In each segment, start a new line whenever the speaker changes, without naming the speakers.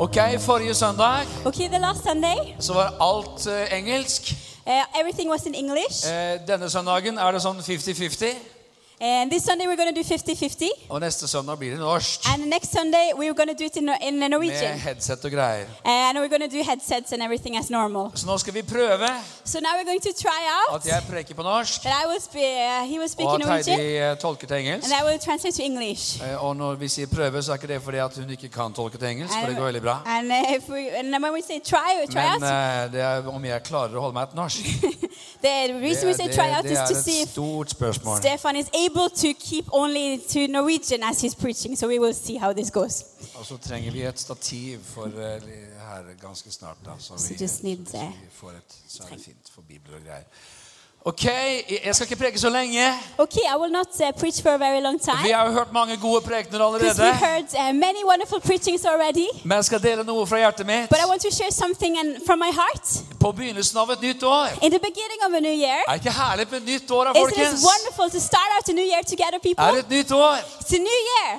Ok, Forrige søndag
Okay, the last Sunday,
så var alt eh, engelsk.
uh, everything was in English.
Eh, denne søndagen er det sånn 50-50.
And this Sunday, we're going to do 50 50.
Og neste søndag blir det norsk.
And next Sunday, we're going to do it in, in Norwegian. Eh,
Med headset og greier.
And we're going to do headsets and everything as normal.
Så nå skal vi prøve
So now we're going to try out
at jeg preker på norsk,
that I will spe- uh, he will speak
og
in
at
Norwegian,
Heidi eh, tolker til
and
engelsk.
I will translate to English.
Eh, Og når vi sier prøve, så er ikke det fordi at hun ikke kan tolke til engelsk, for det går veldig bra.
and, uh, if we, and then when we say try, try
Men
out,
eh, det er om jeg klarer å holde meg til norsk.
the reason we
Det,
say
det,
try out
det
is to
er
see
et
if
stort spørsmål.
Stefan is able to keep only to Norwegian as he's preaching. So we will see how this goes.
Og så trenger vi et stativ for eh, li- her ganske snart, da. Så
So
vi,
just need
så
det.
vi får et Så er det fint for bibler og greier. Ok, jeg skal ikke preke så lenge.
Okay, I will not uh, preach for a very long
Vi
time
har jo hørt mange gode prekener allerede.
because we heard uh, many wonderful preachings already.
Men jeg skal dele noe fra hjertet mitt.
But I want to share something and from my heart.
På begynnelsen av et nytt år.
In the beginning of a new year,
Er det ikke herlig med et nytt år, da,
isn't it
folkens?
wonderful to start out a new year together,
Er det
people?
et nytt år?
It's a new year,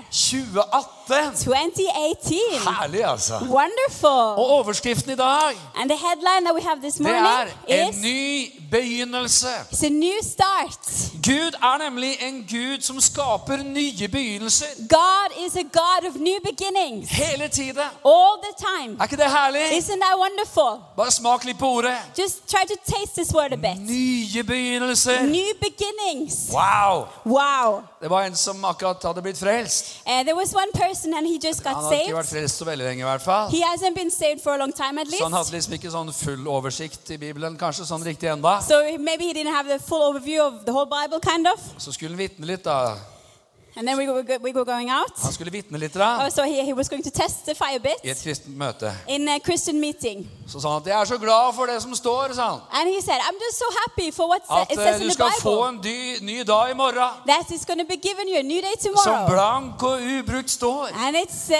2018.
2018.
Herlig, altså.
Wonderful.
Og overskriften i dag,
And the headline that we have this
det
morning
er En
is
ny begynnelse.
It's a new start.
Gud er nemlig en Gud som skaper nye begynnelser.
God is a God of new beginnings
Hele tiden.
all the time.
Er ikke det herlig?
Isn't that wonderful?
Bare smak litt på ordet.
Just try to taste this word a bit.
Nye begynnelser.
New beginnings.
Wow!
Wow.
Det var en som akkurat hadde blitt frelst.
Uh, there was one person and he just
Han
got
hadde ikke vært
saved.
frelst så veldig lenge, i hvert fall.
He hasn't been saved for a long time at
Så han
least.
hadde liksom ikke sånn full oversikt i Bibelen, kanskje sånn riktig enda.
So maybe he didn't have the full overview of the whole Bible, kind of.
Så skulle han vitne litt, da.
And then we were, go- we were going out.
Han skulle vitne litt, da.
Oh, so he, he was going to testify a
I et
bit
kristent møte.
in a Christian meeting.
Så sa han at 'Jeg er så glad for det som står', sa han.
And he said, I'm just so happy for what sa-
At
it
eh,
says in
du
the
skal få
Bible.
en dy, ny dag i morgen
That is going to be given you a new day
som
tomorrow.
blank og ubrukt står.
And it's, uh,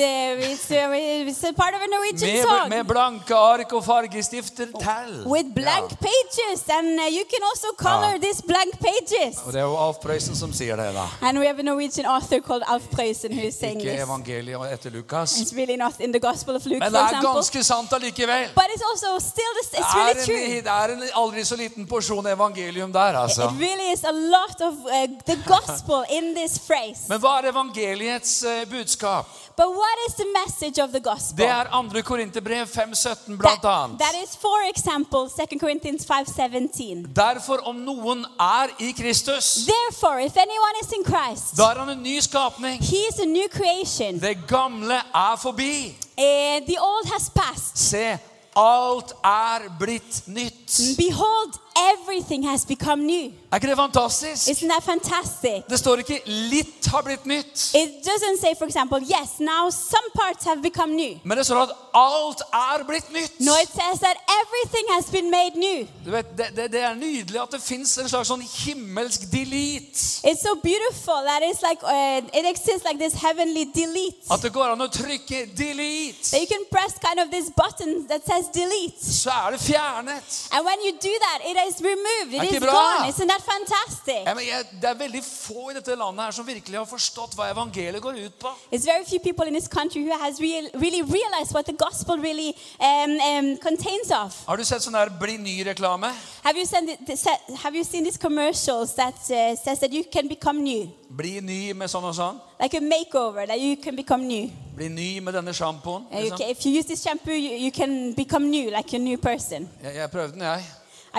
the, it's, uh, it's a part of a Norwegian
Med, med
song.
blanke ark og fargestifter til.
With blank
Ja.
pages. And uh, you can also color
Ja.
these blank pages.
Og det er jo Alf Prøysen som sier det, da.
And we have a Norwegian author called Alf Preussen who's saying
Ikke
this.
evangeliet etter Lukas.
It's really not in the Gospel of Luke,
Men
for
det er
example.
ganske sant allikevel.
But it's also still, this,
Det
it's
er
really
en,
true.
det er en aldri så liten porsjon evangelium der, altså.
It really is a lot of uh, the gospel in this phrase.
Men hva er evangeliets eh, budskap?
But what is the message of the gospel?
Det er 2. Korinterbrev 5,17 blant
That,
annet.
that is, for example, 2 Corinthians 5.17.
Derfor, om noen er i Kristus,
Therefore, if anyone is in Christ,
da er han en ny skapning.
he is a new creation.
Det gamle er forbi.
Eh, the old has passed.
Se, alt er blitt nytt.
Behold, everything has become new.
Er ikke det fantastisk?
Isn't that fantastic?
Det står ikke 'litt har blitt nytt',
It doesn't say, for example, yes, now some parts have become new.
men det står at alt er blitt nytt.
No, it says that everything has been made new.
Du vet, det, det, det er nydelig at det fins en slags sånn himmelsk delete.
It's so beautiful that it's like uh, it exists like this heavenly delete.
At det går an å trykke
That
'delete',
you can press kind of this button that says delete.
så er det fjernet.
And when you do that, it is removed.
Er
It
ikke
is
bra?
gone. Isn't that fantastic?
Ja, men jeg, det er veldig få i dette landet her som virkelig har forstått hva evangeliet går ut på.
It's very few people in this country who has real, really realized what the gospel really um, um, contains of.
Har du sett sånn der 'bli ny'-reklame?
Have you seen, the, the, have you seen these commercials that uh, says that you can become new?
Bli ny med sånn og sånn.
Like a makeover, that you can become new.
Bli ny med denne sjampoen.
Uh, you
Liksom.
ca- if you use this shampoo, you, you can become new, like a new person.
Jeg, jeg prøvde den, jeg.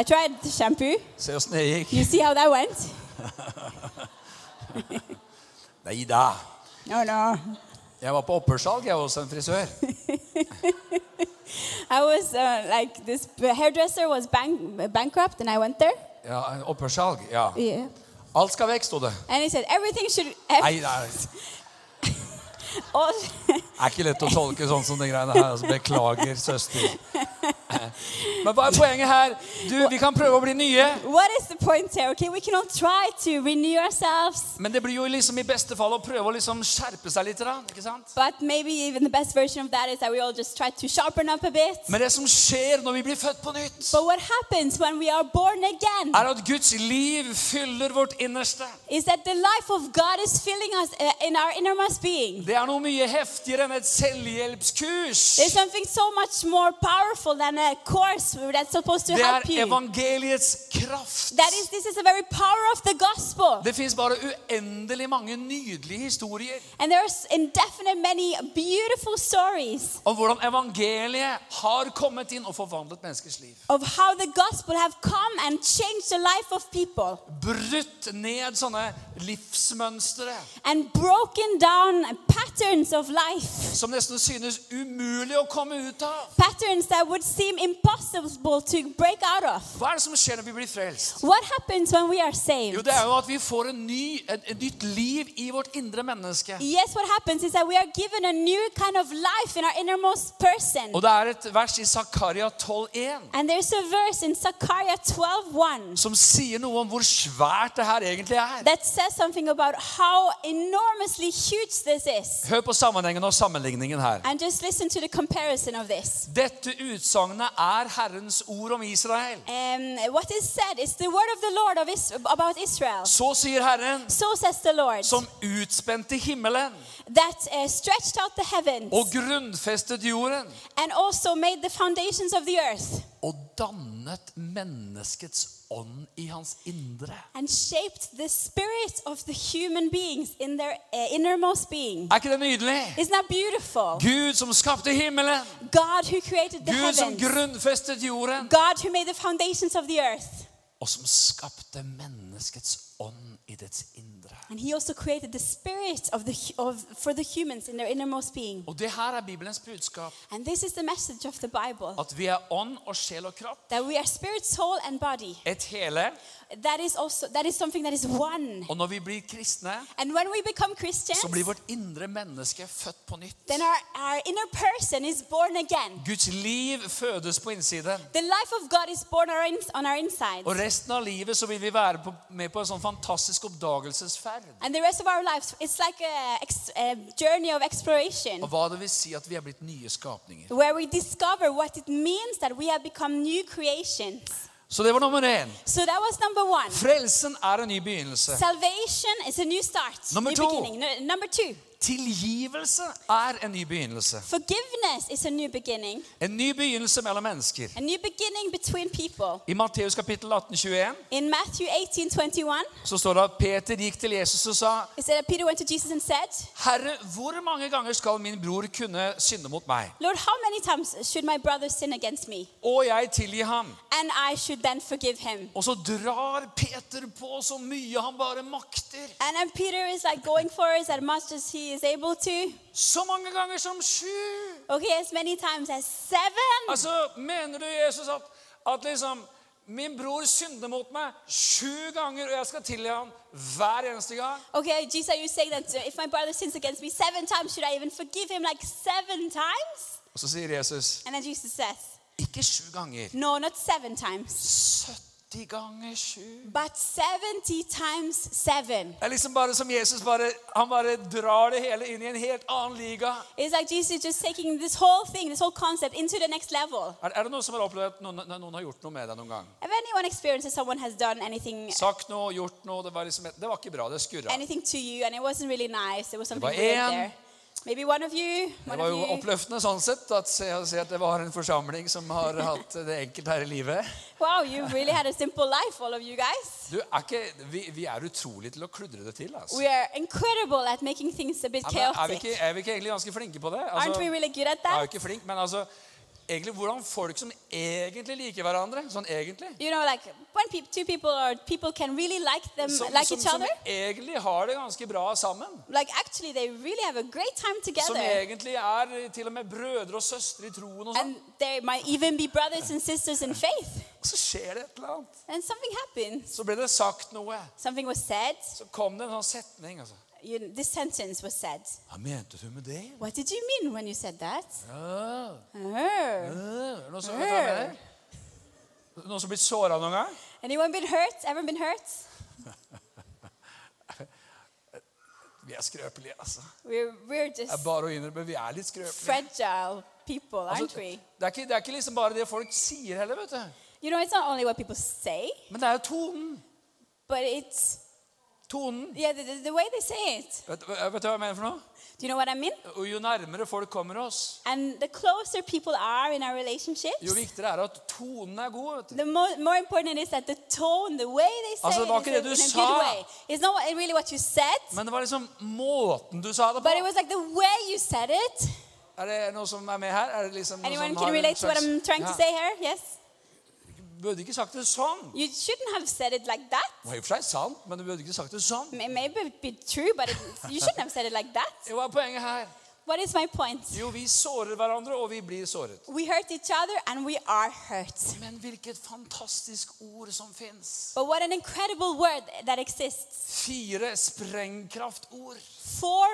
I tried the shampoo.
Se åssen det gikk.
You see how that went?
Nei da.
No, no.
Jeg var på opphørssalg, jeg, hos en frisør.
I was uh, like, this hairdresser was bank- bankrupt, and I went there.
Ja, opphørssalg, ja.
Yeah.
Alt skal vekk, sto det.
And he said, everything should.
Nei, det
all,
er ikke lett å tolke sånn som de greiene her. Altså, beklager, søster. Men hva er poenget her? Du, Vi kan prøve å bli nye,
what is the point here? Okay, we can all try to renew ourselves,
men det blir jo liksom i beste fall å prøve å liksom skjerpe seg litt. Da, ikke sant?
but maybe even the best version of that is that we all just try to sharpen up a bit.
Men det som skjer når vi blir født på nytt,
But what happens when we are born again
er at Guds liv fyller vårt innerste.
is that the life of God is filling us uh, in our innermost being.
Det er noe mye heftigere enn enn et selvhjelpskurs.
There's something so much more powerful than a course that's supposed to
Det
help
er
you.
evangeliets kraft.
That is, this is the very power of the gospel.
Det fins bare uendelig mange nydelige historier
And there's indefinite many beautiful stories
om hvordan evangeliet har kommet inn og forvandlet menneskers liv.
of how the gospel have come and changed the life of people
Brutt ned sånne livsmønstre
and broken down patterns of life.
som nesten synes umulig å komme ut av.
Patterns that would seem impossible to break out of.
Hva er det som skjer når vi blir frelst?
What happens when we are
Jo,
saved?
det er jo at vi får en ny, et, et nytt liv i vårt indre menneske.
Yes, what happens is that we are given a new kind of life in our innermost person.
Og det er et vers i Zakaria 12,1
And there's a verse in Zechariah 12:1
som sier noe om hvor svært det her egentlig er.
that says something about how enormously huge this is.
Hør på sammenhengen og sammenligningen her.
And just listen to the comparison of this.
Dette utsagnet er Herrens ord om Israel.
Um, what is said is the word of the Lord of is- about Israel.
Så sier Herren,
So says the Lord,
som utspente himmelen
that uh, stretched out the heavens
og grunnfestet jorden
and also made the foundations of the earth
og dannet menneskets ånd i hans indre.
and shaped the spirit of the human beings in their uh, innermost being.
Er ikke det nydelig?
Isn't that beautiful?
Gud som skapte himmelen,
God who created the
Gud som
heavens.
grunnfestet jorden,
God who made the foundations of the earth.
og som skapte menneskets ånd i dets indre.
And he also created the spirit of the, hu- of, for the humans in their innermost being.
Og det her er Bibelens budskap.
And this is the message of the Bible
At vi er ånd og sjel og kropp.
that we are spirit, soul, and body.
Et hele.
That is also that is something that is one.
Og når vi blir kristne,
And when we become
så blir
Christians,
vårt indre menneske født på nytt.
then our, our inner person is born again.
Guds liv fødes på innsiden.
The life of God is born our ins- on our inside.
Og resten av livet så vil vi være på, med på en sånn fantastisk oppdagelsesferd.
And the rest of our lives, it's like a, ex- a journey of exploration
Og hva det vil si at vi er blitt nye skapninger.
where we discover what it means that we have become new creations.
Så det var nummer én.
So that was number one.
Frelsen er en ny begynnelse.
Salvation is a new start.
Number
new
two.
Beginning. No- number two.
Tilgivelse er en ny begynnelse.
Forgiveness is a new beginning.
En ny begynnelse mellom mennesker.
A new beginning between people.
I Matteus kapittel 18, 21
In Matthew 18, 21,
så står det at Peter gikk til Jesus og sa
it said that Peter went to Jesus and said,
Herre, hvor mange ganger skal min bror kunne synde mot meg?
Lord, how many times should my brother sin against me?
Og jeg tilgi ham.
And I should then forgive him.
Og så drar Peter på så mye han bare makter.
And then Peter is like going for it as much as he is able to.
Så mange ganger som sju.
Okay, as many times as seven.
Altså, mener du, Jesus, at, at liksom Min bror synder mot meg sju ganger, og jeg skal tilgi ham hver eneste gang.
Okay, Jesus, are you saying that if my brother sins against me seven times, should I even forgive him like seven times?
Og så sier Jesus
And then Jesus says,
ikke sju ganger.
No, not seven times,
70 ganger sju.
but 70 times seven.
Det er liksom bare som Jesus bare, han bare drar det hele inn i en helt annen liga.
It's like Jesus is just taking this whole thing, this whole concept into the next level.
Er, er det noen som har opplevd at noen, noen har gjort noe med deg noen gang?
Have anyone experienced that someone has done anything,
Sagt noe, gjort noe. Det var, liksom, det var ikke bra. Det skurra.
anything to you and it wasn't really nice? There was something
var
weird
en.
there. Maybe one of you,
Det
one
var
of
jo
you.
oppløftende sånn sett at se, se at det var en forsamling som har hatt det enkelt her i livet.
Wow, you really had a simple life, all of you guys.
Du, er ikke, vi, vi er utrolig til å kludre det til. Altså.
We are incredible at making things a bit
Ja, men er, vi
chaotic.
ikke, er vi ikke egentlig ganske flinke på det?
Aren't
Altså,
we
jeg
really good at
er jo
that?
ikke flink, men altså egentlig hvordan folk som egentlig liker hverandre, sånn egentlig
You know, like when peop two people or people can really like them,
som,
Um, like
som,
each
som
other.
egentlig har det ganske bra sammen.
Like actually, they really have a great time
Som
together,
egentlig er til og med brødre og søstre i troen. og sånn.
and they might even be brothers and sisters in faith.
Og Så skjer det et eller annet.
And something happens.
Så ble det sagt noe.
Something was said.
Så kom det en sånn setning. altså.
You, this sentence was said.
Hva mente du med det?
What did you mean when you said that?
Ja.
Oh.
Øh, Noen som, vet du hva jeg mener? Noen som blir såra noen gang?
Anyone been hurt? Ever been hurt?
Vi er skrøpelige, altså.
We're we're
Det er
just
bare å innrømme, vi er litt skrøpelige.
fragile people, aren't
Altså,
we?
det, er ikke, det er ikke liksom bare det folk sier heller, vet du.
You know, it's not only what people say,
Men det er jo tonen.
but it's
tonen
Yeah, the, the, the way they say it.
vet, vet du hva jeg mener for noe?
Do you know what I mean?
Og jo nærmere folk kommer oss,
And the closer people are in our relationships,
jo viktigere er det at tonen er god. Vet du.
the more, more important it is that the tone, the way they say
Altså, det var
it,
ikke det
is
du
in a
sa.
good way. It's not what- really what you said,
Men det var liksom måten du sa det på.
but it was like the way you said it.
Er det noe som er med her? Er det liksom noe
Anyone
som
can
har en
relate to what
slags-
I'm trying to
Ja,
say here? Yes.
Du burde ikke sagt det sånn.
You shouldn't have said it like that.
Det var i og for seg sant, men du burde ikke sagt det sånn.
May- Maybe it would be true, but it, you shouldn't have said it like that.
Hva er poenget her?
What is my point?
Jo, vi sårer hverandre, og vi blir såret.
We hurt each other and we are hurt.
Men hvilket fantastisk ord som fins.
But what an incredible word that exists.
Fire sprengkraftord
Four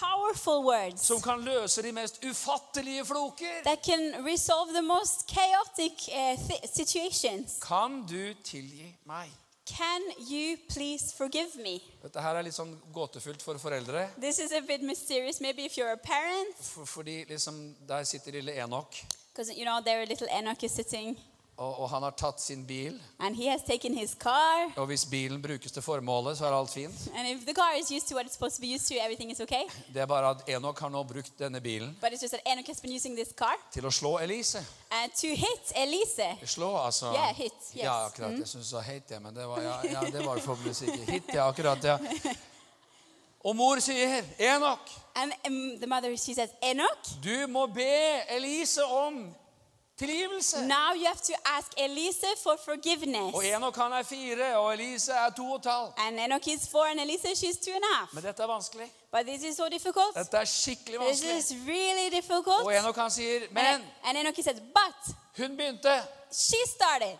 powerful words
som kan løse de mest ufattelige floker.
that can resolve the most chaotic uh, th- situations.
Kan du tilgi meg?
Can you please forgive me?
Dette her er litt sånn gåtefullt for foreldre.
This is a bit mysterious, maybe if you're a parent,
For, fordi liksom, der sitter lille Enok,
because you know there a little Enoch is sitting
og, og han har tatt sin bil.
and he has taken his car.
Og hvis bilen brukes til formålet, så er alt fint.
And if the car is used to what it's supposed to be used to, everything is okay.
Det er bare at Enok har nå brukt denne bilen
But it's just that Enoch has been using this car
til å slå Elise.
uh, to hit Elise.
Slå, altså.
Yeah, hit, yes. Mm.
Ja, akkurat. Jeg syns du sa hate, ja, men det var, ja, ja, det var forhåpentligvis ikke hit. Ja, akkurat, ja. Og mor sier, Enok,
And um, the mother, she says, Enoch,
du må be Elise om tilgivelse.
now you have to ask Elise for forgiveness.
Og Enok han er fire, og Elise er to og et halvt.
And Enoch is four and Elise, she's two and a half.
Men dette er vanskelig.
But this is so difficult.
Dette er skikkelig
This
vanskelig.
is really difficult.
Og Enok han sier, men
And, and Enoch says, but
hun begynte.
she started.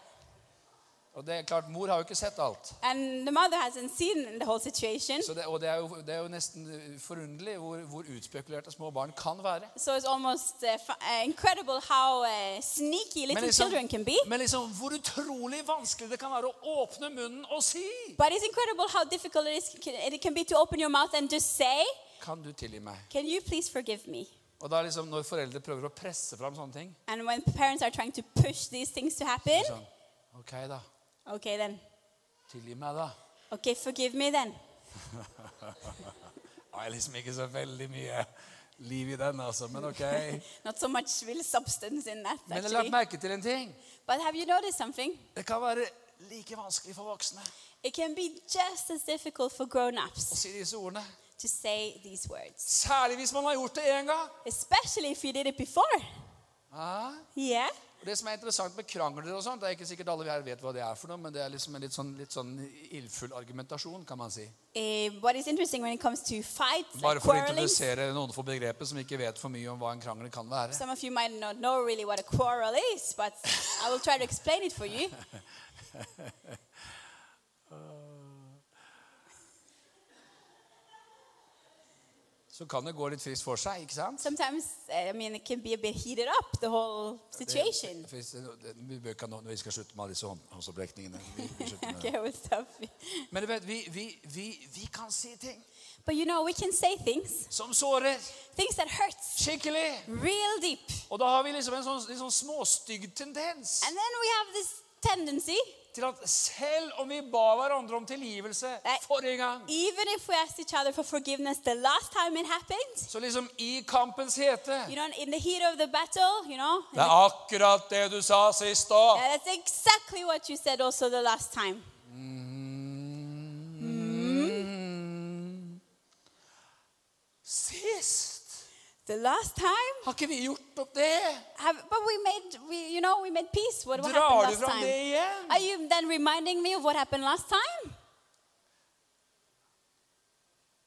Og det er klart, mor har jo ikke sett alt.
And the mother hasn't seen the whole situation.
Så det, og det er, jo, det er jo nesten forunderlig hvor, hvor utspekulerte små barn kan være.
So it's almost uh, f- uh, incredible how uh, sneaky little children can be.
men liksom hvor utrolig vanskelig det kan være å åpne munnen og si
But it's incredible how difficult it, is, it can be to open your mouth and just say,
Kan du tilgi meg?
Can you please forgive me?
Og da liksom når foreldre prøver å presse fram sånne ting
And when parents are trying to push these things to happen,
sånn, Ok, da.
okay then,
Tilgi meg, da.
okay, forgive me then.
Det er liksom ikke så veldig mye liv i den, altså. Men ok.
Not so much real substance in that,
Men jeg har
actually.
lagt merke til en ting.
But have you noticed something?
Det kan være like vanskelig for voksne
It can be just as difficult for grown
å
ups
si disse ordene.
to say these words,
Særlig hvis man har gjort det én gang.
especially if you did it before.
Ja.
Yeah?
Og Det som er interessant med krangler og sånt, det er ikke sikkert alle her vet hva det er for noe, men det er liksom en litt sånn, litt sånn ildfull argumentasjon, kan man si.
Eh, what is interesting when it comes to fights, like
Bare for å
quarreling,
introdusere noen for begrepet som ikke vet for mye om hva en krangel kan være.
some of you might not know really what a quarrel is, but I will try to explain it for you.
Så kan det gå litt frist for seg, ikke sant?
Sometimes, eh, I mean, it can be a bit heated up, the whole situation.
Det- frist- det- Vi bør ikke nå- vi skal slutte med alle disse hånd- håndsopprekningene. Vi, vi slutter med det.
Okay, I will stop.
Men du vet, vi, vi, vi, vi kan si ting
But you know, we can say things,
som sårer
things that hurts
skikkelig.
real deep.
Og da har vi liksom en sånn, litt sånn småstygg tendens
And then we have this tendency,
til at selv om vi ba hverandre om tilgivelse
Nei.
forrige gang,
even if we asked each other for forgiveness the last time it happened,
så liksom i kampens hete
you know, in the heat of the battle, you know,
Det er akkurat det du sa sist òg.
yeah, that's exactly what you said also the last time.
Sist!
The last time,
Har ikke vi gjort opp det?
have, but we made, we, you know, we made peace. What, what
Drar du
happened last
fram det
time?
igjen?
Are you then reminding me of what happened last time?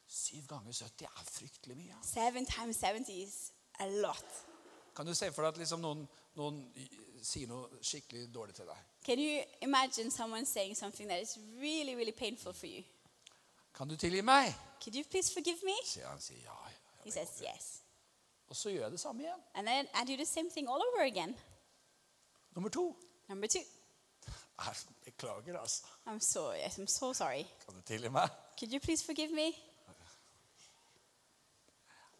Syv ganger 70 er fryktelig mye. altså.
Seven times 70 is a lot.
Kan du se for deg at liksom noen, noen y- sier noe skikkelig dårlig til deg?
Can you imagine someone saying something that is really, really painful for you?
Kan du tilgi meg?
Could you please forgive me?
Sier han sier ja. ja,
He
det
says
går bra.
yes.
Og så gjør jeg det samme igjen.
And then I do the same thing all over again.
Nummer to.
Number two.
Nei, Beklager, altså.
I'm so yes, I'm so sorry.
Kan du tilgi meg?
Could you please forgive me?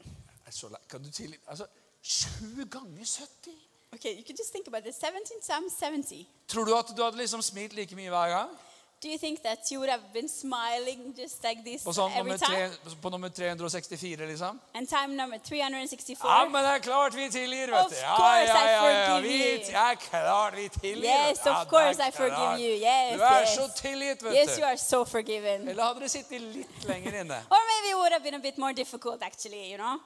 Jeg er så lei. Kan du tilgi Altså, sju ganger 70?
Okay, you could just think about this. 17 times 70.
Tror du at du hadde liksom smilt like mye hver gang?
Do you think that you would have been smiling just like this
På, sånn,
every
nummer
time?
tre, på nummer 364, liksom.
And time number 364.
Ja, men det er klart vi tilgir, vet
Of
du. Ja,
course I
ja, ja, ja,
forgive
vi,
you.
ja, klart vi tilgir.
Yes,
vet du. Ja,
of course
det er
I forgive
klart.
you. Yes,
du er
yes.
så tilgitt, vet
yes, you
du.
are so forgiven.
Eller hadde du sittet litt lenger inne?
Or maybe it would have been a bit more difficult, actually, you know?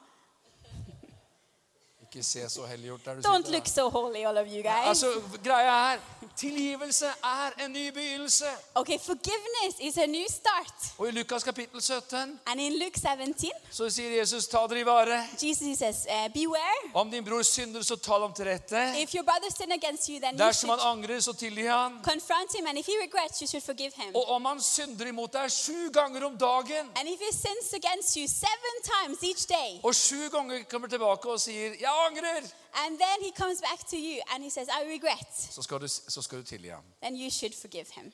Ikke se så helliggjort der du
Don't
sitter.
look so holy, all of you
da.
guys.
Altså, greia er, tilgivelse er en ny begynnelse.
Okay, forgiveness is a new start.
Og i Lukas kapittel 17
And in Luke 17,
så sier Jesus, ta dere i vare.
Jesus says, uh, Beware.
Om din bror synder, så tal ham til rette.
If your brother sin against you, then you
Dersom
should
han angrer, så tilgi han.
confront him. And if he regrets, you should forgive him.
Og om han synder imot deg sju ganger om dagen,
And if he sins against you seven times each day,
og sju ganger kommer tilbake og sier 'jeg angrer',
and then he comes back to you and he says, I regret,
så skal du, så skal du tilgi ham.
then you should forgive him.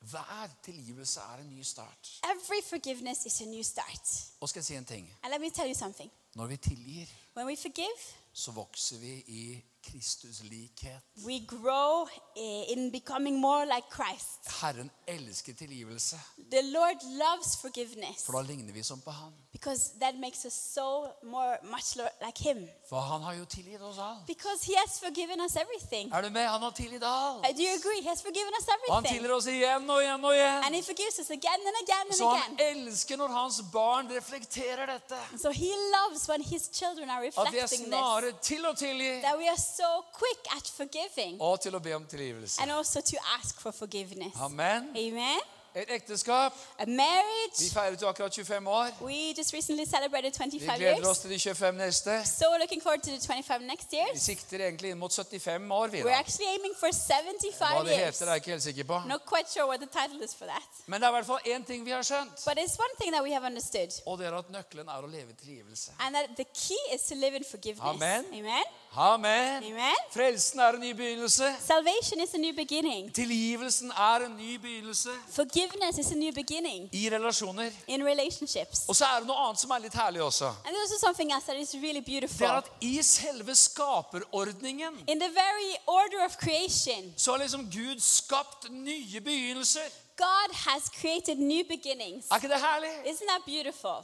Hver tilgivelse er en ny start.
Every forgiveness is a new start.
Og skal jeg si en ting.
And let me tell you something.
Når vi tilgir,
When we forgive,
så vokser vi i Kristus likhet.
we grow eh, in becoming more like Christ.
Herren elsker tilgivelse,
The Lord loves forgiveness
for da ligner vi som på Han.
because that makes us so more much lo- like Him.
For Han har jo tilgitt oss alt.
Because He has forgiven us everything.
Er du med? Han har tilgitt alt.
Uh, Do you agree? He has forgiven us
Og han
everything.
tilgir oss igjen og igjen og igjen.
And He forgives us again and again and
Så han
again.
elsker når hans barn reflekterer dette.
So He loves when His children are
At vi er
reflecting this.
snare til å tilgi
That we are so quick at forgiving
og til å be om tilgivelse.
and also to ask for forgiveness.
Amen.
Amen.
Et ekteskap.
A
Vi
marriage.
feiret jo akkurat 25 år.
We just recently celebrated
Vi
25
gleder
years.
oss til de 25 neste.
So looking forward to the 25 next year.
Vi sikter egentlig inn mot 75 år, vi.
We're
da.
actually aiming for
Hva
75
det
years.
heter, er jeg ikke helt sikker på.
Not quite sure what the title is for that.
Men det er i hvert fall én ting vi har skjønt,
But it's one thing that we have understood.
og det er at nøkkelen er å leve i tilgivelse.
And that the key is to live in forgiveness.
Amen.
Amen.
Amen.
Amen.
Frelsen er en ny begynnelse.
Salvation is a new beginning.
Tilgivelsen er en ny begynnelse
Forgiveness is a new beginning
i relasjoner.
in relationships.
Og så er det noe annet som er litt herlig også.
And there's also something else that is really
Det er
beautiful.
at i selve skaperordningen
In the very order of creation,
så har liksom Gud skapt nye begynnelser.
God has created new beginnings.
Er ikke det herlig?
Isn't that beautiful?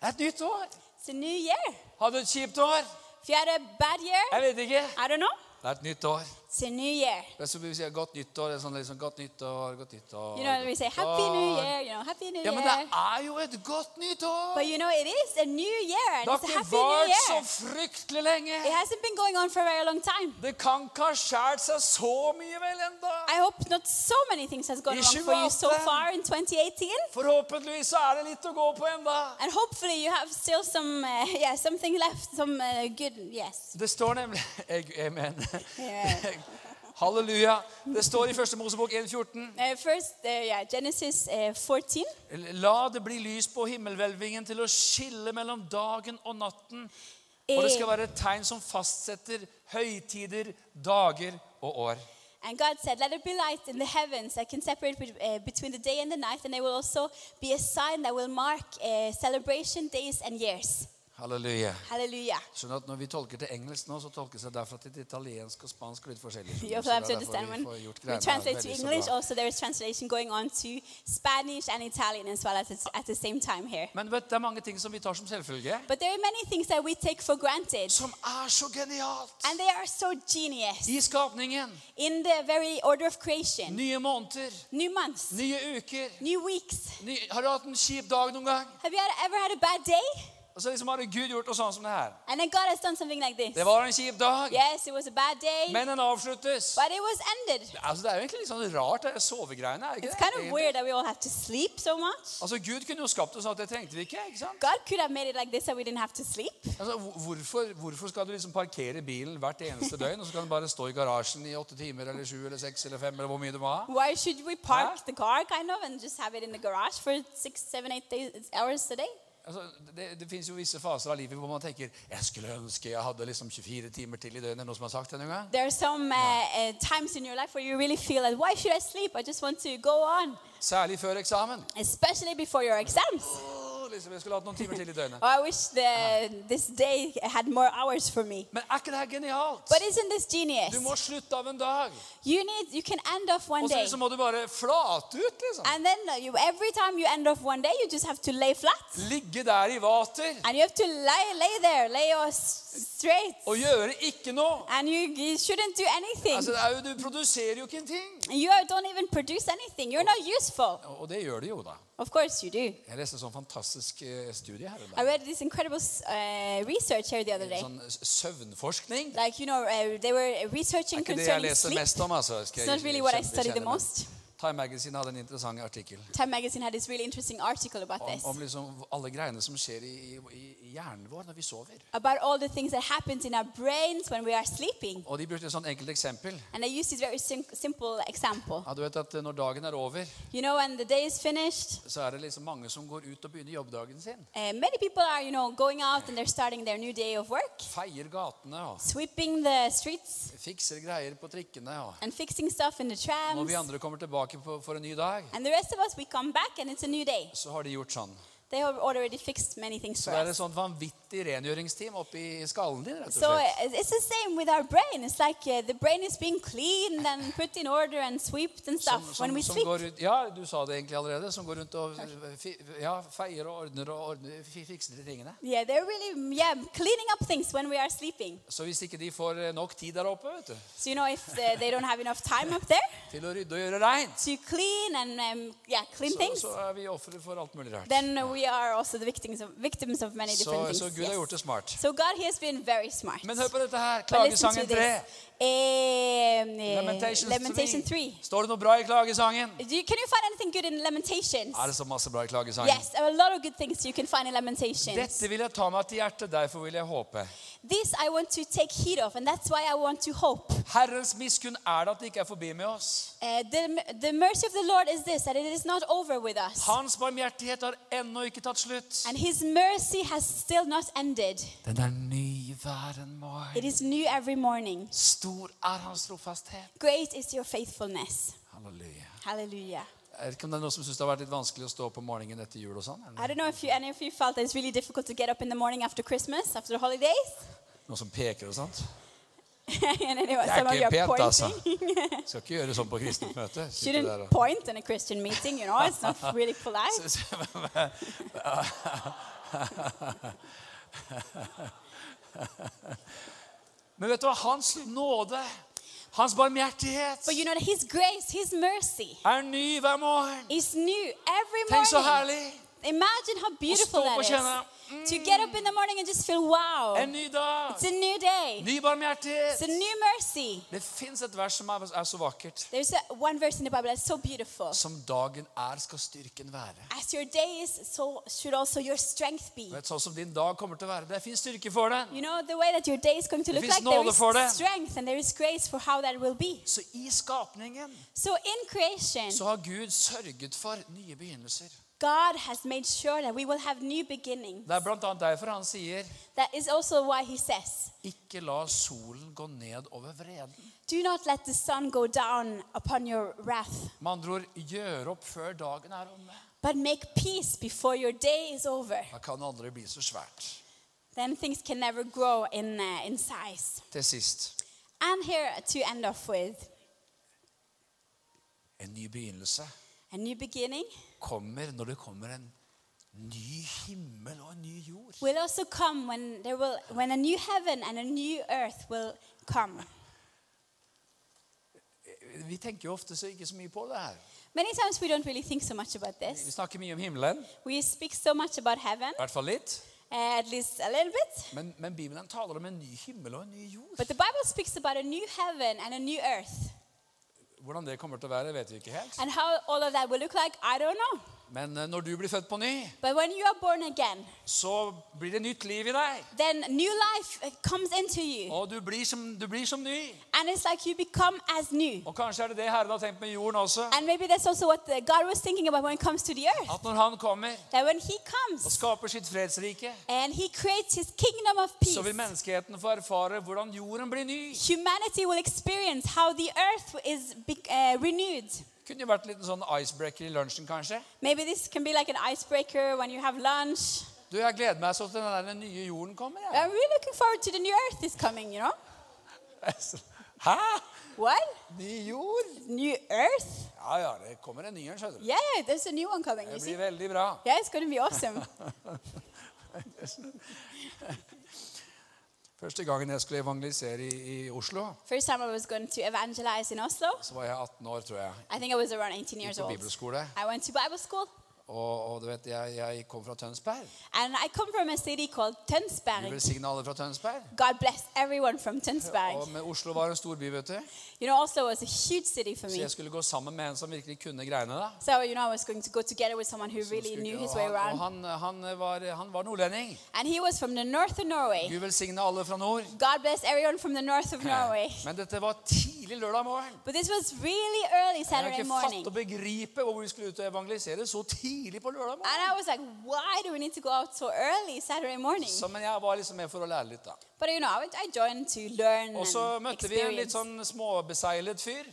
Det er et nytt år.
It's a new year.
Har du et kjipt år?
If you had a bad year,
Jeg vet ikke.
I don't know.
Det er et nytt år.
It's a new year.
Det er som vi sier godt nytt år. Det er sånn liksom godt nytt år, godt nytt år.
You know, we
godt
say
nytt
Happy New
år.
Year, you know, Happy New
Ja, men det
Year.
er jo et godt nytt år.
But you know, it is a new year, and
Det har
it's a
ikke
Happy New
vart så
Year.
fryktelig
It
lenge.
hasn't been going on for a very long time.
Det kan ikke ha skjært seg så mye vel enda.
I hope not so many things has gone
I
wrong for you so
2018.
far in 2018,
Forhåpentligvis så er det litt å gå på enda.
and hopefully you have still some, uh, yeah, something left, some uh, good, yes.
Det står nemlig Jeg- Amen.
Amen.
Halleluja. Det står i Første Mosebok 1,14.
Uh, first, uh, yeah, Genesis uh, 14.
La det bli lys på himmelhvelvingen til å skille mellom dagen og natten. Og det skal
Eh,
være et tegn som fastsetter høytider, dager og år.
Eh, And God said, Let there be light in the heavens that can separate bet- uh, between the day and the night, and there will also be a sign that will mark uh, celebration days and years.
Halleluja.
Hallelujah.
Skjønner at Når vi tolker til engelsk nå, så tolkes det derfra til italiensk og spansk. og litt forskjellig.
You also
Så
have to
det er
understand
derfor vi
when
får gjort
we
greiene her
translate to
veldig så
English,
bra.
also there is translation going on to Spanish and Italian as well at, the- at the same time here.
Men vet, du, det er mange ting som vi tar som selvfølge,
But there are many things that we take for granted,
som er så genialt.
and they are so genius.
I skapningen.
In the very order of creation,
Nye måneder.
new months,
Nye uker.
new weeks.
Ny, har du hatt en kjip dag noen gang?
Have you had- ever had a bad day?
Og så liksom har Gud gjort noe sånn som det her.
And then God has done something like this.
Det var en kjip dag,
Yes, it was a bad day,
men den avsluttes.
but it was ended.
Altså, det er jo egentlig litt sånn rart, det sovegreiene. er det
It's
ikke
kind
det?
of
Egentlig.
weird that we all have to sleep so much.
Altså, Gud kunne jo skapt det sånn at det trengte vi ikke. ikke sant?
God could have made it like this that we didn't have to sleep.
Altså, hvor- hvorfor, hvorfor skal du liksom parkere bilen hvert eneste døgn, og så kan du bare stå i garasjen i åtte timer eller sju eller seks eller fem eller hvor mye du må ha?
Why should we park
Huh?
the car kind of and just have it in the garage for six, seven, eight days, hours a day?
Altså, det, det finnes jo visse faser av livet hvor man tenker jeg skulle ønske jeg hadde liksom 24 timer til i døgnet. Er det Noe som har sagt det noen gang?
There are some uh, uh, times in your life where you really feel like, why should I sleep? I just want to go on,
Særlig før eksamen.
especially before your exams.
Åh, Herregud, Elisabeth, jeg skulle hatt noen timer til i døgnet.
Oh, I wish the, this day had more hours for me.
Men er ikke det her genialt?
But isn't this
Du
genius?
må slutte av en dag.
You need you can end off one
Og så
day.
liksom må du bare flate ut, liksom.
And then uh, you, every time you end off one day, you just have to lay flat.
Ligge der i vater
And you have to lay, lay there, lay your s- straight.
og gjøre ikke noe.
And you, you shouldn't do anything.
Altså, det er jo, du produserer jo ikke en ting.
You are- don't even produce anything. You're not useful.
Og og det gjør det jo, da.
Of course you do.
Jeg leste en sånn fantastisk eh, studie her.
I
Eller?
read this incredible uh, research here the other day.
Sånn s- søvnforskning. Det
Like, you know, uh, they were researching
er ikke det jeg
concerning
leser
sleep.
mest om. altså.
It's
Skal
not
jeg
really what I
kjempe-
study the
kjenne, men
most.
Time Magazine hadde en interessant artikkel
Time magazine had this really interesting article about
om,
this.
om liksom alle greiene som skjer i, i, i hjernen vår når vi sover.
About all the things that happens in our brains when we are sleeping.
Og de brukte et sånt enkelt eksempel.
And I used this very sim- simple example.
Ja, du vet at eh, Når dagen er over,
You know, when the day is finished,
så er det liksom mange som går ut og begynner jobbdagen sin.
uh, many people are, you know, going out and they're starting their new day of work,
Feier gatene og
sweeping the streets
fikser greier på trikkene. og
and fixing stuff in the
Når vi
trams.
andre kommer tilbake på, for en ny dag,
And the rest of us, we come back and it's a new day.
så har de gjort sånn.
They have already fixed many things
Så
for
det er
us.
et sånt vanvittig rengjøringsteam oppi skallen din, rett og
So
slett.
uh, it's the same with our brain. It's like uh, the brain is being cleaned and put in order and swept and
Som,
stuff when
som,
we
som
sleep.
går ut, ja, du sa det egentlig allerede. Som går rundt og eh, fi- ja, feier og ordner og ordner, fi- fikser de tingene.
Yeah, they're really mm, yeah cleaning up things when we are sleeping.
Så hvis ikke de får eh, nok tid der oppe vet du,
So you know if uh, they don't have enough time up there
til å rydde og gjøre reint,
to clean and um, yeah clean
så,
things,
så er vi ofre for alt mulig rart.
then we are also the victims of victims of many
Så,
different
så
things.
Gud har
yes.
gjort det smart.
So God, He has been very smart.
Men hør på dette her.
But listen
Klagesangen
to
3.
this. Um, uh,
Lamentations
Lamentation
3.
3.
Står det noe bra i klagesangen?
Do you, can you find anything good in Lamentations?
Er det så masse bra i klagesangen?
Yes, a lot of good things you can find in Lamentations.
Dette vil jeg ta meg til hjertet, derfor vil jeg håpe.
This I want to take heed of, and that's why I want to hope.
Herrens miskunn er det at det ikke er forbi med oss.
Uh, the, the mercy of the Lord is this, that it is not over with us.
Hans barmhjertighet har ennå ikke tatt slutt.
And his mercy has still not ended.
Den er ny hver en
It
morgen.
is new every morning.
Stor er hans trofasthet.
Great is your faithfulness.
Halleluja.
Hallelujah.
Jeg vet ikke om det er noen som syns det har vært litt vanskelig å stå opp om morgenen etter jul og sånn? eller?
I don't know if you, any of you felt that it's really difficult to get up in the morning after Christmas, after the holidays.
Noen som peker og sånt?
and anyway,
Det er
some of
ikke
you are
pent, altså.
pointing.
Skal ikke gjøre sånn på kristent møte. Sitte der
Shouldn't
og
point in a Christian meeting, you know, it's not really polite.
Men vet du hva? Hans nåde, hans barmhjertighet,
But you know that his grace, his mercy
er ny hver morgen.
is new every
Tenk så
morning.
herlig!
Imagine how beautiful
stå opp
that
og kjenne,
is. To get up in the morning and just feel, wow,
En ny dag,
it's a new day,
ny
it's a
barmhjertighet.
new mercy.
Det fins et vers som er, er så vakkert.
There's a, one verse in the Bible that's so beautiful.
Som dagen er, skal styrken være.
As your day is, so should also your strength be.
Vet, sånn som din dag kommer til å være. Det fins styrke for den.
You know, the way that your day is going to
Det
look
finns
like, there
nåde för det.
is strength and there is grace for how that will be.
Så i skapningen
So in creation,
så har Gud sørget for nye begynnelser.
God has made sure that we will have new beginning.
Det er blant annet derfor han sier
That is also why he says,
Ikke la solen gå ned over vreden.
do not let the sun go down upon your wrath,
Med andre ord, gjør opp før dagen er omme.
but make peace before your day is over.
Da kan det aldri bli så svært.
Then things can never grow in, uh, in size.
Til sist,
And here to end off with,
en ny begynnelse
a new beginning
kommer når det kommer en ny himmel og en ny jord.
will also come when there will when a new heaven and a new earth will come.
Vi tenker jo ofte så ikke så mye på det her.
Many times we don't really think so much about
Vi
this.
snakker mye om himmelen, i
We speak so much about heaven,
hvert fall litt.
eh, at least a little bit,
Men, men Bibelen taler om en ny himmel og en ny jord.
but the Bible speaks about a new heaven and a new earth.
Hvordan det kommer til å være, vet vi ikke helt.
And how all of that will look like, I don't know.
Men eh, når du blir født på ny,
But when you are born again,
så blir det nytt liv i deg.
then new life eh, comes into you.
Og du blir som, du blir som ny.
And it's like you become as new.
Og kanskje er det det Herren har tenkt med jorden også.
And maybe that's also what the, God was thinking about when it comes to the earth.
At når han kommer
That when He
og
comes
skaper sitt fredsrike,
and He creates His kingdom of
så vil
peace,
menneskeheten få erfare hvordan jorden blir ny.
humanity will experience how the earth is be- uh, renewed.
Kunne jo vært en liten sånn icebreaker i lunsjen, kanskje.
Maybe this can be like an icebreaker when you have lunch.
Du, Jeg gleder meg så til den der nye jorden kommer. jeg.
I'm really looking forward to the new earth is coming, you know?
Hæ?
What?
Ny jord?
New earth?
Ja ja, det kommer en ny en, skjønner du.
Yeah, yeah, there's a new one coming, you
Det
see?
blir veldig bra.
Yeah, it's going to be awesome.
Første gangen jeg skulle evangelisere i, i Oslo,
First time I was going to evangelize in Oslo,
så var jeg 18 år, tror jeg.
I think I was around 18 years
På
old.
bibelskole.
I went to Bible school,
Og, og du vet, jeg, jeg kom fra Tønsberg.
and I come from a city called
Du
Tønsberg.
velsigna alle fra Tønsberg.
God bless everyone from
Og
Tønsberg.
men Oslo var en stor by, vet du.
You know, Oslo was a huge city for
Så
me.
jeg skulle gå sammen med en som virkelig kunne greiene. da.
So, you know, I was going to go together with someone who
Som
really
skulle-
knew his
og
way
han, og
around.
han, han, var, han var nordlending.
And he was from the north of Norway.
Gud velsigne alle fra nord.
God bless everyone from the north of Norway.
Men dette var tidlig lørdag morgen.
But this was really early
Jeg har
Saturday
ikke
morning.
fatt å begripe hvor vi skulle ut og evangelisere så tidlig på lørdag morgen.
And I was like, why do we need to go out so early Saturday morning?
Så, men jeg var liksom med for å lære litt, da.
But you know, I I joined to learn
Og så
and
møtte vi en litt
experience.
sånn småbeseilet fyr.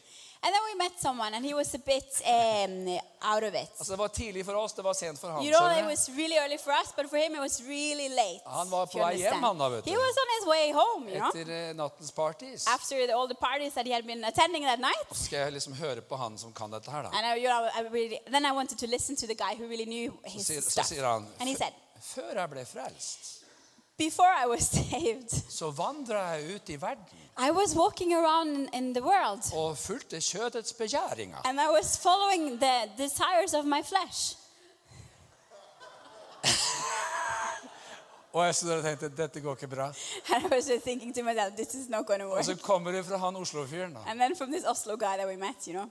And then we met someone, and he was a bit um, out of it.
Altså Det var tidlig for oss, det var sent for han.
You know,
skjønner
it
du?
was really early for us, but for him it was really late.
Han var
if
på
you
vei
understand.
hjem, han da, vet du.
He was on his way home, you know,
Etter eh, nattens parties.
after the, all the parties that he had been attending that night.
Skal jeg liksom høre på han som kan dette her, da?
And I, you know, I really, then I wanted to listen to the guy who really knew his
sier- så
stuff.
sier han,
and he
"Fø-
said,
Før jeg ble frelst,
"Before I was saved,
så vandra jeg ut i verden
I was walking around in, in the world,
og fulgte kjødets begjæringer.
and I was following the desires of my flesh."
Og jeg stod der og tenkte dette går ikke bra.
And I was just thinking to myself, "This is not going to
Og
work."
så kommer det fra han Oslo-fyren. da.
And then from this Oslo guy that we met, you know,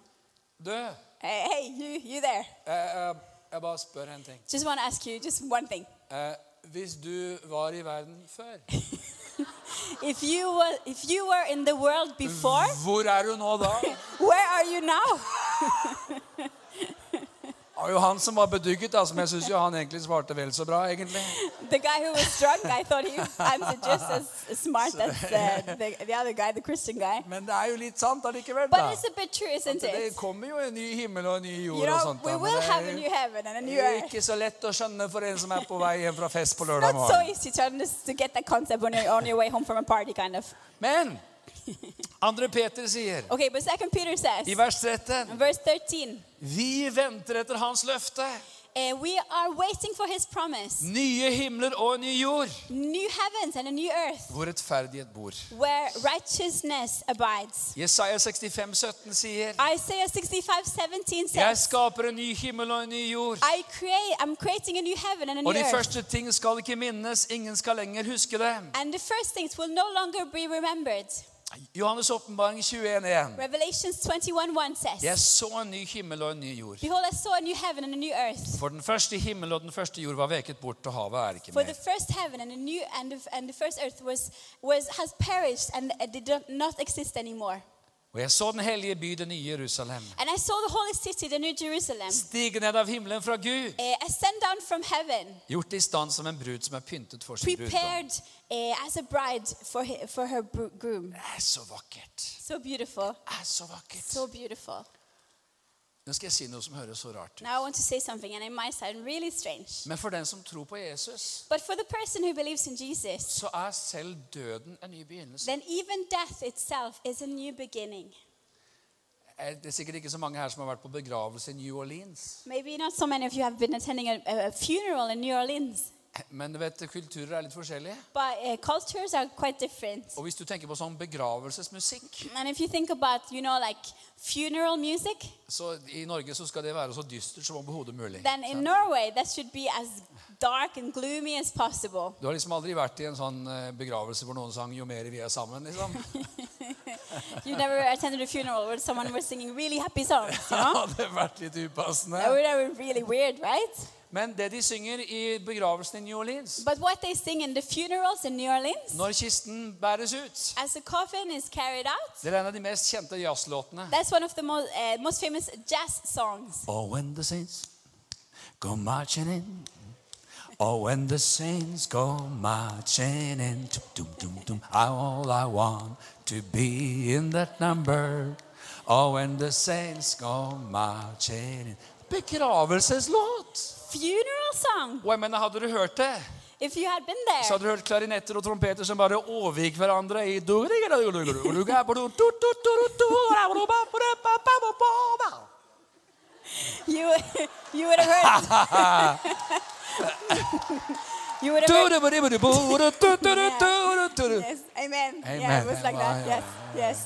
Du, jeg,
hey, hey you, you there?
jeg, jeg bare spør en ting.
Just want to ask you just one thing.
Eh, hvis du var i verden før,
If you were, if you were in the world before,
hvor er du nå da?
where are you now?
Det var jo han som var bedugget, altså, men jeg syns jo han egentlig svarte vel så bra, egentlig.
The guy who was drunk, I thought he answered just as smart as uh, the, the other guy, the Christian guy.
Men det er jo litt sant allikevel, da.
But it's a bit true, isn't
Det
it?
kommer jo en ny himmel og en ny
You
jord og
know,
sånt.
we
da, men
will
det
have a
er-
new heaven and a new
Det er
earth.
ikke så lett å skjønne for en som er på vei hjem fra fest på lørdag
Not so
morgen.
easy to, under- to get that concept when you're on your way home from a party, kind of.
Men 2. Peter sier
Okay, but Second Peter says,
i vers 13
verse 13,
Vi venter etter Hans løfte.
uh, we are waiting for his promise,
Nye himler og en ny jord.
new heavens and a new earth,
Hvor rettferdighet bor.
where righteousness abides.
Jesaja 65, 17 sier
Isaiah 65, 17
Jeg
says,
skaper en ny himmel og en ny jord.
I create, I'm creating a new heaven and a new
Og de
earth.
første ting skal ikke minnes, ingen skal lenger huske dem.
And the first things will no longer be remembered.
Johannes' åpenbaring 21,1.
Revelations 21, 1 says,
Jeg så en ny himmel og en ny jord.
Behold, I saw a new heaven and a new earth.
For den første himmel og den første jord var veket bort, og havet er ikke
For the
mer.
first heaven and the new and the, and the first earth was, was has perished and it did not exist anymore.
Og jeg så den hellige by, det nye Jerusalem.
And I saw the holy city, the new Jerusalem,
Stige ned av himmelen fra Gud,
eh, ascend down from heaven,
gjort i stand som en brud som er pyntet for sin bruddom.
prepared eh, as a bride for her, for her bro- groom.
Det er så vakkert.
So beautiful,
Det er så vakkert.
so beautiful.
Nå skal jeg si noe som høres så rart ut.
Now I want to say something, and it might sound really strange.
Men for den som tror på Jesus,
But for the person who believes in Jesus,
så er selv døden en ny begynnelse.
then even death itself is a new beginning.
Er Det er sikkert ikke så mange her som har vært på begravelse i New Orleans.
Maybe not so many of you have been attending a, a- a funeral in New Orleans,
Men du vet, kulturer er litt forskjellige.
but uh, cultures are quite different.
Og hvis du tenker på sånn begravelsesmusikk,
And if you think about, you know, like funeral music,
så i Norge så skal det være så dystert som overhodet mulig.
then in Norway that should be as dark and gloomy as possible.
Du har liksom aldri vært i en sånn eh, begravelse hvor noen sang 'Jo mer vi er sammen', liksom.
You never attended a funeral where someone was singing really happy songs, you
Det
know?
hadde vært litt
That would
upassende.
that would be really weird, right?
Men det de synger i begravelsen i New Orleans
But what they sing in the funerals in New Orleans,
Når kisten bæres ut
as the coffin is carried out,
Det er en av de mest kjente jazzlåtene.
That's one of the most, uh, most famous jazz songs.
Oh, when the saints go marching in Oh, when the saints go marching in dum, dum, dum, dum. All I want to be in that number Oh, when the saints go marching in. Begravelseslåt!
Funeral song.
Og jeg mener, hadde du hørt det,
If you had been
så
there,
hadde du hørt klarinetter og trompeter som bare overgikk hverandre i Det
you you would have heard. you would have heard. Yes. Amen. Yeah,
Amen.
it was like
Yeah, yeah,
that. Yes. Yes.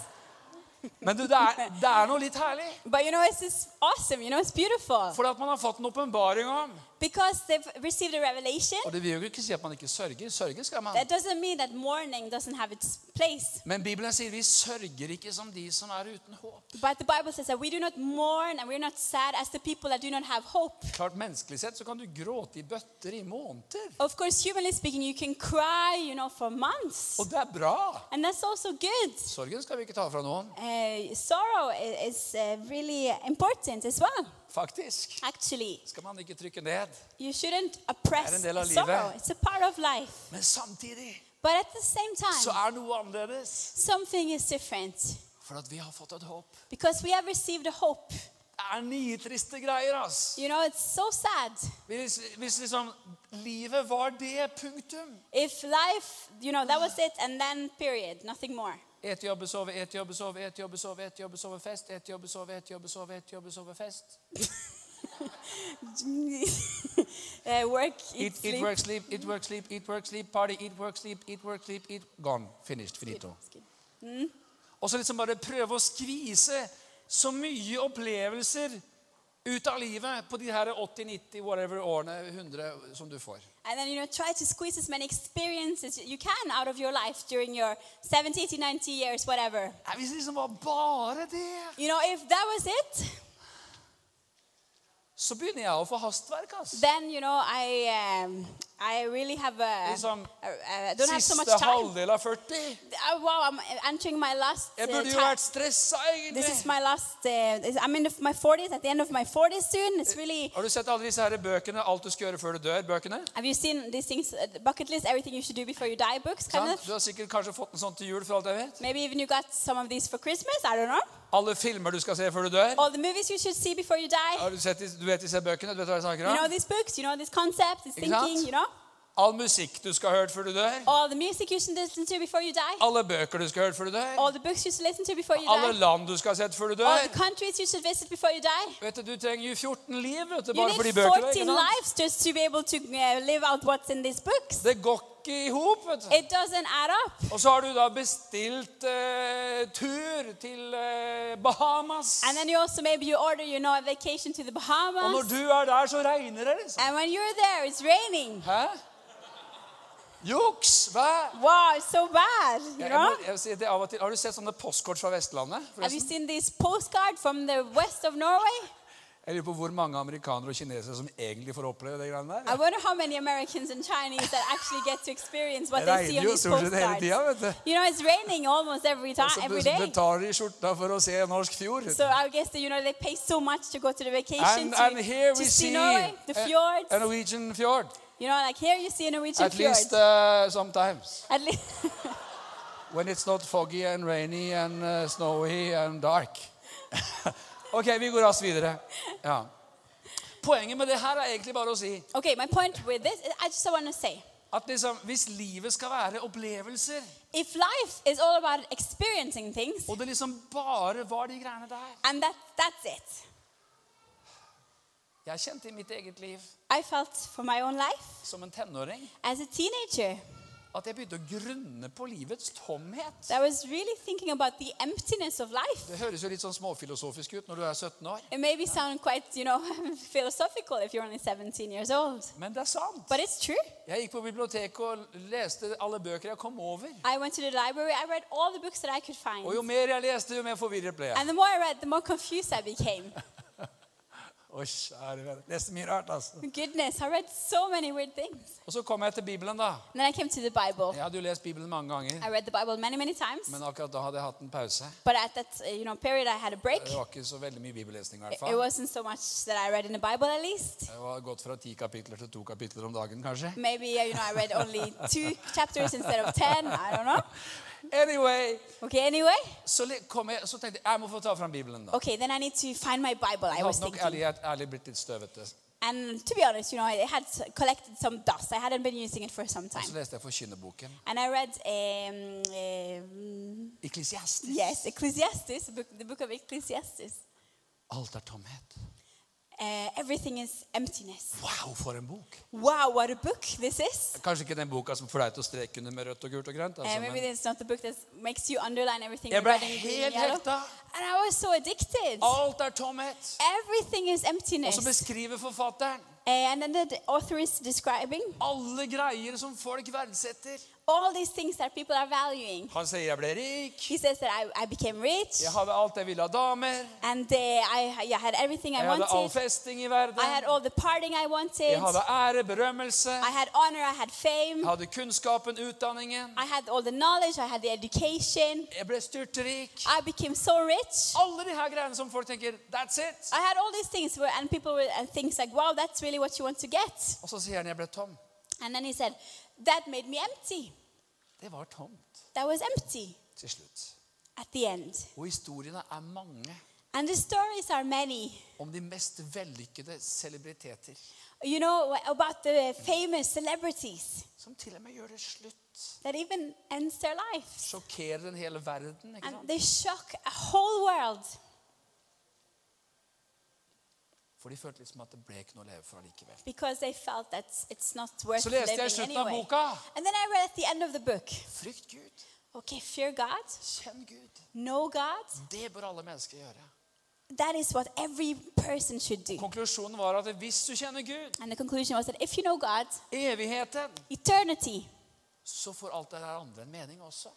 Men du, det er, det er noe litt herlig.
But you know, it's just awesome. You know, it's beautiful
Fordi at man har fått en åpenbaring om
because they've received a revelation.
Og det vil jo ikke si at man ikke sørger. Sørge skal man.
That doesn't mean that mourning doesn't have its place.
Men Bibelen sier vi sørger ikke som de som er uten håp.
But the Bible says that we do not mourn and we're not sad as the people that do not have hope.
Klart Menneskelig sett så kan du gråte i bøtter i måneder.
Of course, humanly speaking, you can cry, you know, for months.
Og det er bra.
And that's also good.
Sorgen skal vi ikke ta fra noen,
Uh, sorrow i- is uh, really important as well,
faktisk.
actually.
Skal man ikke trykke ned.
You shouldn't
Det
oppress
er en del av
sorrow,
livet.
it's a part of life.
Men samtidig
But at the same
så
time,
er noe annerledes.
something is different
For at vi har fått et håp.
because we have received a hope.
Det er nitriste greier, ass.
You know, it's so sad.
Hvis, hvis liksom livet var det, punktum.
If life, you know, that was it, and then period, nothing more.
Et jobbe, sove, et jobbe, sove, et jobbe, sove, et jobbe, sove, fest. Et jobbe, sove, et jobbe, sove, et jobbe, sove, fest.
uh, work, eat,
Eat, eat,
sleep.
work, sleep, eat, work, sleep, eat, work, sleep, party, eat, work, sleep, eat, work, sleep, eat, gone. Finished. Finito. Og så liksom bare prøve å skvise så mye opplevelser ut av livet på de her 80-90 whatever årene, 100 som du får.
And then, you know, try to squeeze as many experiences you can out of your life during your 70, 80, 90 years, whatever.
Nei, Hvis det liksom var bare det,
You know, if that was it,
så begynner jeg å få hastverk, ass.
then, you know, I, um, I really have a,
Liksom,
a- a- I don't have so much
Siste
time.
halvdel av 40.
Uh, wow, I'm entering my last uh,
Jeg burde jo
time.
vært stressa,
This is
egentlig.
my last, uh, is- I'm in the, my 40s, at the end of my 40s soon. It's really,
Har du sett alle disse her bøkene? Alt du skal gjøre før du dør? bøkene?
have you seen these things, uh, bucket list, everything you should do before you die books, kind
Sant?
of?
Du har sikkert kanskje fått en sånn til jul. for alt jeg vet.
Maybe even you got some of these for Christmas, I don't know.
Alle filmer du skal se før du dør.
All the movies you should see before you die.
Har du, sett, disse- du vet disse bøkene? Du vet hva jeg snakker
You know
om?
these books, you know this concept, this
Ikke sant?
thinking, you know.
All musikk du skal ha hørt før du dør.
All the music you should listen to before you die.
Alle bøker du skal ha hørt før du dør.
All the books you should listen to before you
Alle
die.
land du skal ha sett før du
All the
dør.
countries you should visit before you die.
Vet du, du trenger jo 14 liv vet du,
You
bare for de
need
bøkene.
14
ikke sant?
lives just to be able to uh, live out what's in these books.
Det går ikke i hop. vet du.
It doesn't add up.
Og så har du da bestilt eh, tur til eh, Bahamas.
And then you also maybe you order, you know, a vacation to the
Og når
Bahamas.
du er der, så regner det, liksom.
And when you're there, it's raining.
Hæ? Juks! Hva?
Wow, it's so bad, you
Jeg, jeg må,
know.
jeg vil si det av og til. Har du sett sånne postkort fra Vestlandet?
Have you
forresten?
seen this postcard from the west of Norway?
Jeg lurer på hvor mange amerikanere og kinesere som egentlig får oppleve det greiene
I
der.
wonder how many Americans and Chinese that actually get to experience what
Det
they see on
regner jo
these
stort sett hele
postcards.
tida, vet du.
You know, it's raining almost every time,
Så
every
be-
day.
betaler de skjorta for å se en norsk fjord.
So I guess that, you know they pay so much to go to the vacation
And,
to,
and here
to
we see
see Norway, the
a,
fjords.
a Norwegian fjord.
you know, like here you see a Norwegian
At
fjord.
least uh, sometimes.
At least,
When it's not foggy and rainy and uh, snowy and dark. ok, vi går raskt videre. Ja. Poenget med det her er egentlig bare å si
okay, my point with this, is- I just want to say,
at liksom, hvis livet skal være opplevelser,
if life is all about experiencing things,
og det liksom bare var de greiene der
and that that's it,
Jeg kjente i mitt eget liv
I felt for my own life
som en tenåring
as a teenager
at jeg begynte å grunne på livets tomhet.
that I was really thinking about the emptiness of life.
Det høres jo litt sånn småfilosofisk ut når du er 17 år,
It maybe sound quite, you know, philosophical if you're only 17 years old,
men det er sant.
but it's true.
Jeg gikk på biblioteket og leste alle bøker jeg kom over.
I went to the library. I read all the books that I could find.
Og jo mer jeg leste, jo mer forvirret ble jeg.
And the more I read, the more confused I became.
Å, kjære venn. Leste mye rart, altså.
Goodness, I read so many weird things.
Og så kom jeg til Bibelen, da.
And then I came to the Bible.
Jeg hadde jo lest Bibelen mange ganger,
I read the Bible many, many times.
men akkurat da hadde jeg hatt en pause.
But at that uh, you know period, I had a break.
Det var ikke så veldig mye bibellesning, i
It
hvert
it
fall.
wasn't so much that I read in the Bible, at least.
Det var gått fra ti kapitler til to kapitler om dagen, kanskje.
Maybe uh, you know I read only two chapters instead of ten. I don't know.
Anyway,
Okay, anyway.
så, li- kom jeg, så tenkte jeg jeg må få ta fram Bibelen. da.
Okay, then I need to find my Bible, I
Jeg
was
hadde nok
thinking.
ærlig, ærlig blitt litt støvete.
And to be honest, you know, it had s- collected some dust. I hadn't been using it for some time.
Så leste jeg Forkynneboken.
And I read, um, um,
Eklesiastisk.
yes, Ecclesiastes, book, the book of Ecclesiastes.
Alt er tomhet.
Uh, everything is emptiness.
Wow, for en bok!
Wow, what a book this is.
Kanskje ikke den boka som får deg til å streke under med rødt og gult og grønt. Altså,
Uh, maybe
men
this is not the book that makes you underline everything
jeg
in
ble
red and green
helt
and yellow.
hekta.
And I was so addicted.
Alt er tomhet.
Everything is
Og så
emptiness. Uh,
beskriver forfatteren
And then the author is describing
alle greier som folk verdsetter.
all these things that people are valuing.
Han sier 'jeg ble rik',
He says that I, I became rich
'jeg hadde alt jeg ville av damer',
and uh, I, I had everything I
'jeg hadde all
wanted.
festing i
I had
verden',
all the partying I wanted.
jeg hadde ære, berømmelse,
I had honor, I had fame,
jeg hadde kunnskapen, utdanningen,
I had all the knowledge, I had the education.
jeg ble styrtrik.
I became so rich.
Alle de her greiene som folk tenker 'that's it'.
I had all these things where, and people were, and things like, wow, that's really what you want to get.
Og så sier han 'jeg ble tom'.
And then he said, that made me empty.
Det var tomt
That was empty
til slutt.
at the end.
Og historiene er mange
And the stories are many.
om de mest vellykkede celebriteter
You know, about the famous celebrities
som til og med gjør det slutt.
that even ends their lives.
Sjokkerer den hele verden. ikke
And
sant?
they shock a whole world
For de følte liksom at det ble ikke noe å leve for allikevel.
because they felt that it's not worth
Så leste jeg
living
slutten av
anyway.
boka.
And then I read at the end of the book,
Frykt Gud.
okay, fear God,
Kjenn Gud.
know God.
Det bør alle mennesker gjøre.
That is what every person should do.
Konklusjonen var at hvis du kjenner Gud,
And the conclusion was that if you know God,
evigheten,
eternity,
så får alt det der andre en mening også.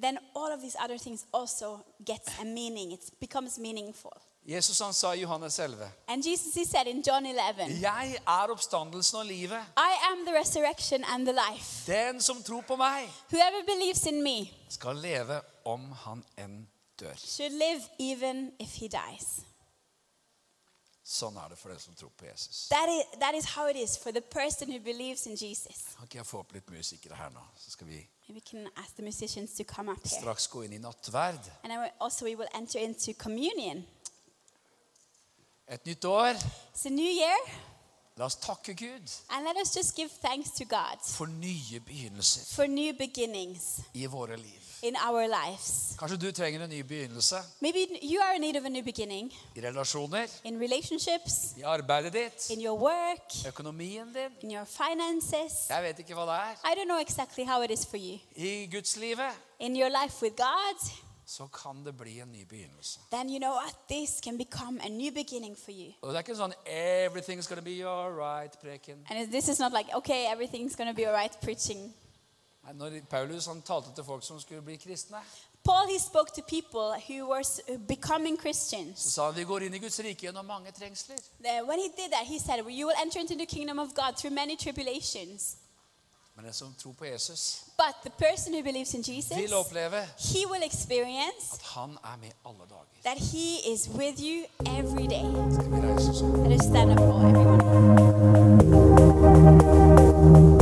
then all of these other things also gets a meaning. It becomes meaningful.
Jesus han sa i Johannes 11.:
And Jesus, he said in John 11,
Jeg er oppstandelsen og livet.
I am the resurrection and the life.
Den som tror på meg,
Whoever believes in me
skal leve om han enn dør.
should live even if he dies.
Sånn er det for den som tror på Jesus.
That is, that is how it is for the person who believes in Jesus.
Kan ikke jeg få opp litt musikere her nå? Så skal vi
Maybe we can ask the musicians to come up here.
straks gå inn i nattverd.
And I will- also, we will enter into communion.
Et nytt år.
It's a new year,
La oss takke Gud
and let us just give thanks to God
for nye begynnelser
for new beginnings
i våre liv.
in our lives.
Kanskje du trenger en ny begynnelse
Maybe you are in need of a new beginning
i relasjoner,
in relationships,
i arbeidet ditt,
in your work,
økonomien din.
in your finances.
Jeg vet ikke hva det er.
I don't know exactly how it is for you.
I gudslivet
In your life with God,
så kan det bli en ny begynnelse.
then you know what? This can become a new beginning for you.
Og det er ikke sånn 'everything's gonna be all right', preken.
And this is not like, okay, everything's going to be all right preaching.
Nei, Når Paulus han talte til folk som skulle bli kristne,
Paul, he spoke to people who were s- becoming Christians.
så sa han 'vi går inn i Guds rike gjennom mange trengsler'.
Then When he did that, he said, well, You will enter into the kingdom of God through many tribulations.
Men den som tror på Jesus,
But the person who believes in
vil
Jesus,
oppleve
he will experience
at han er med alle dager.
that He is with you every day.
Skal vi reise oss opp?
Let us stand up for everyone.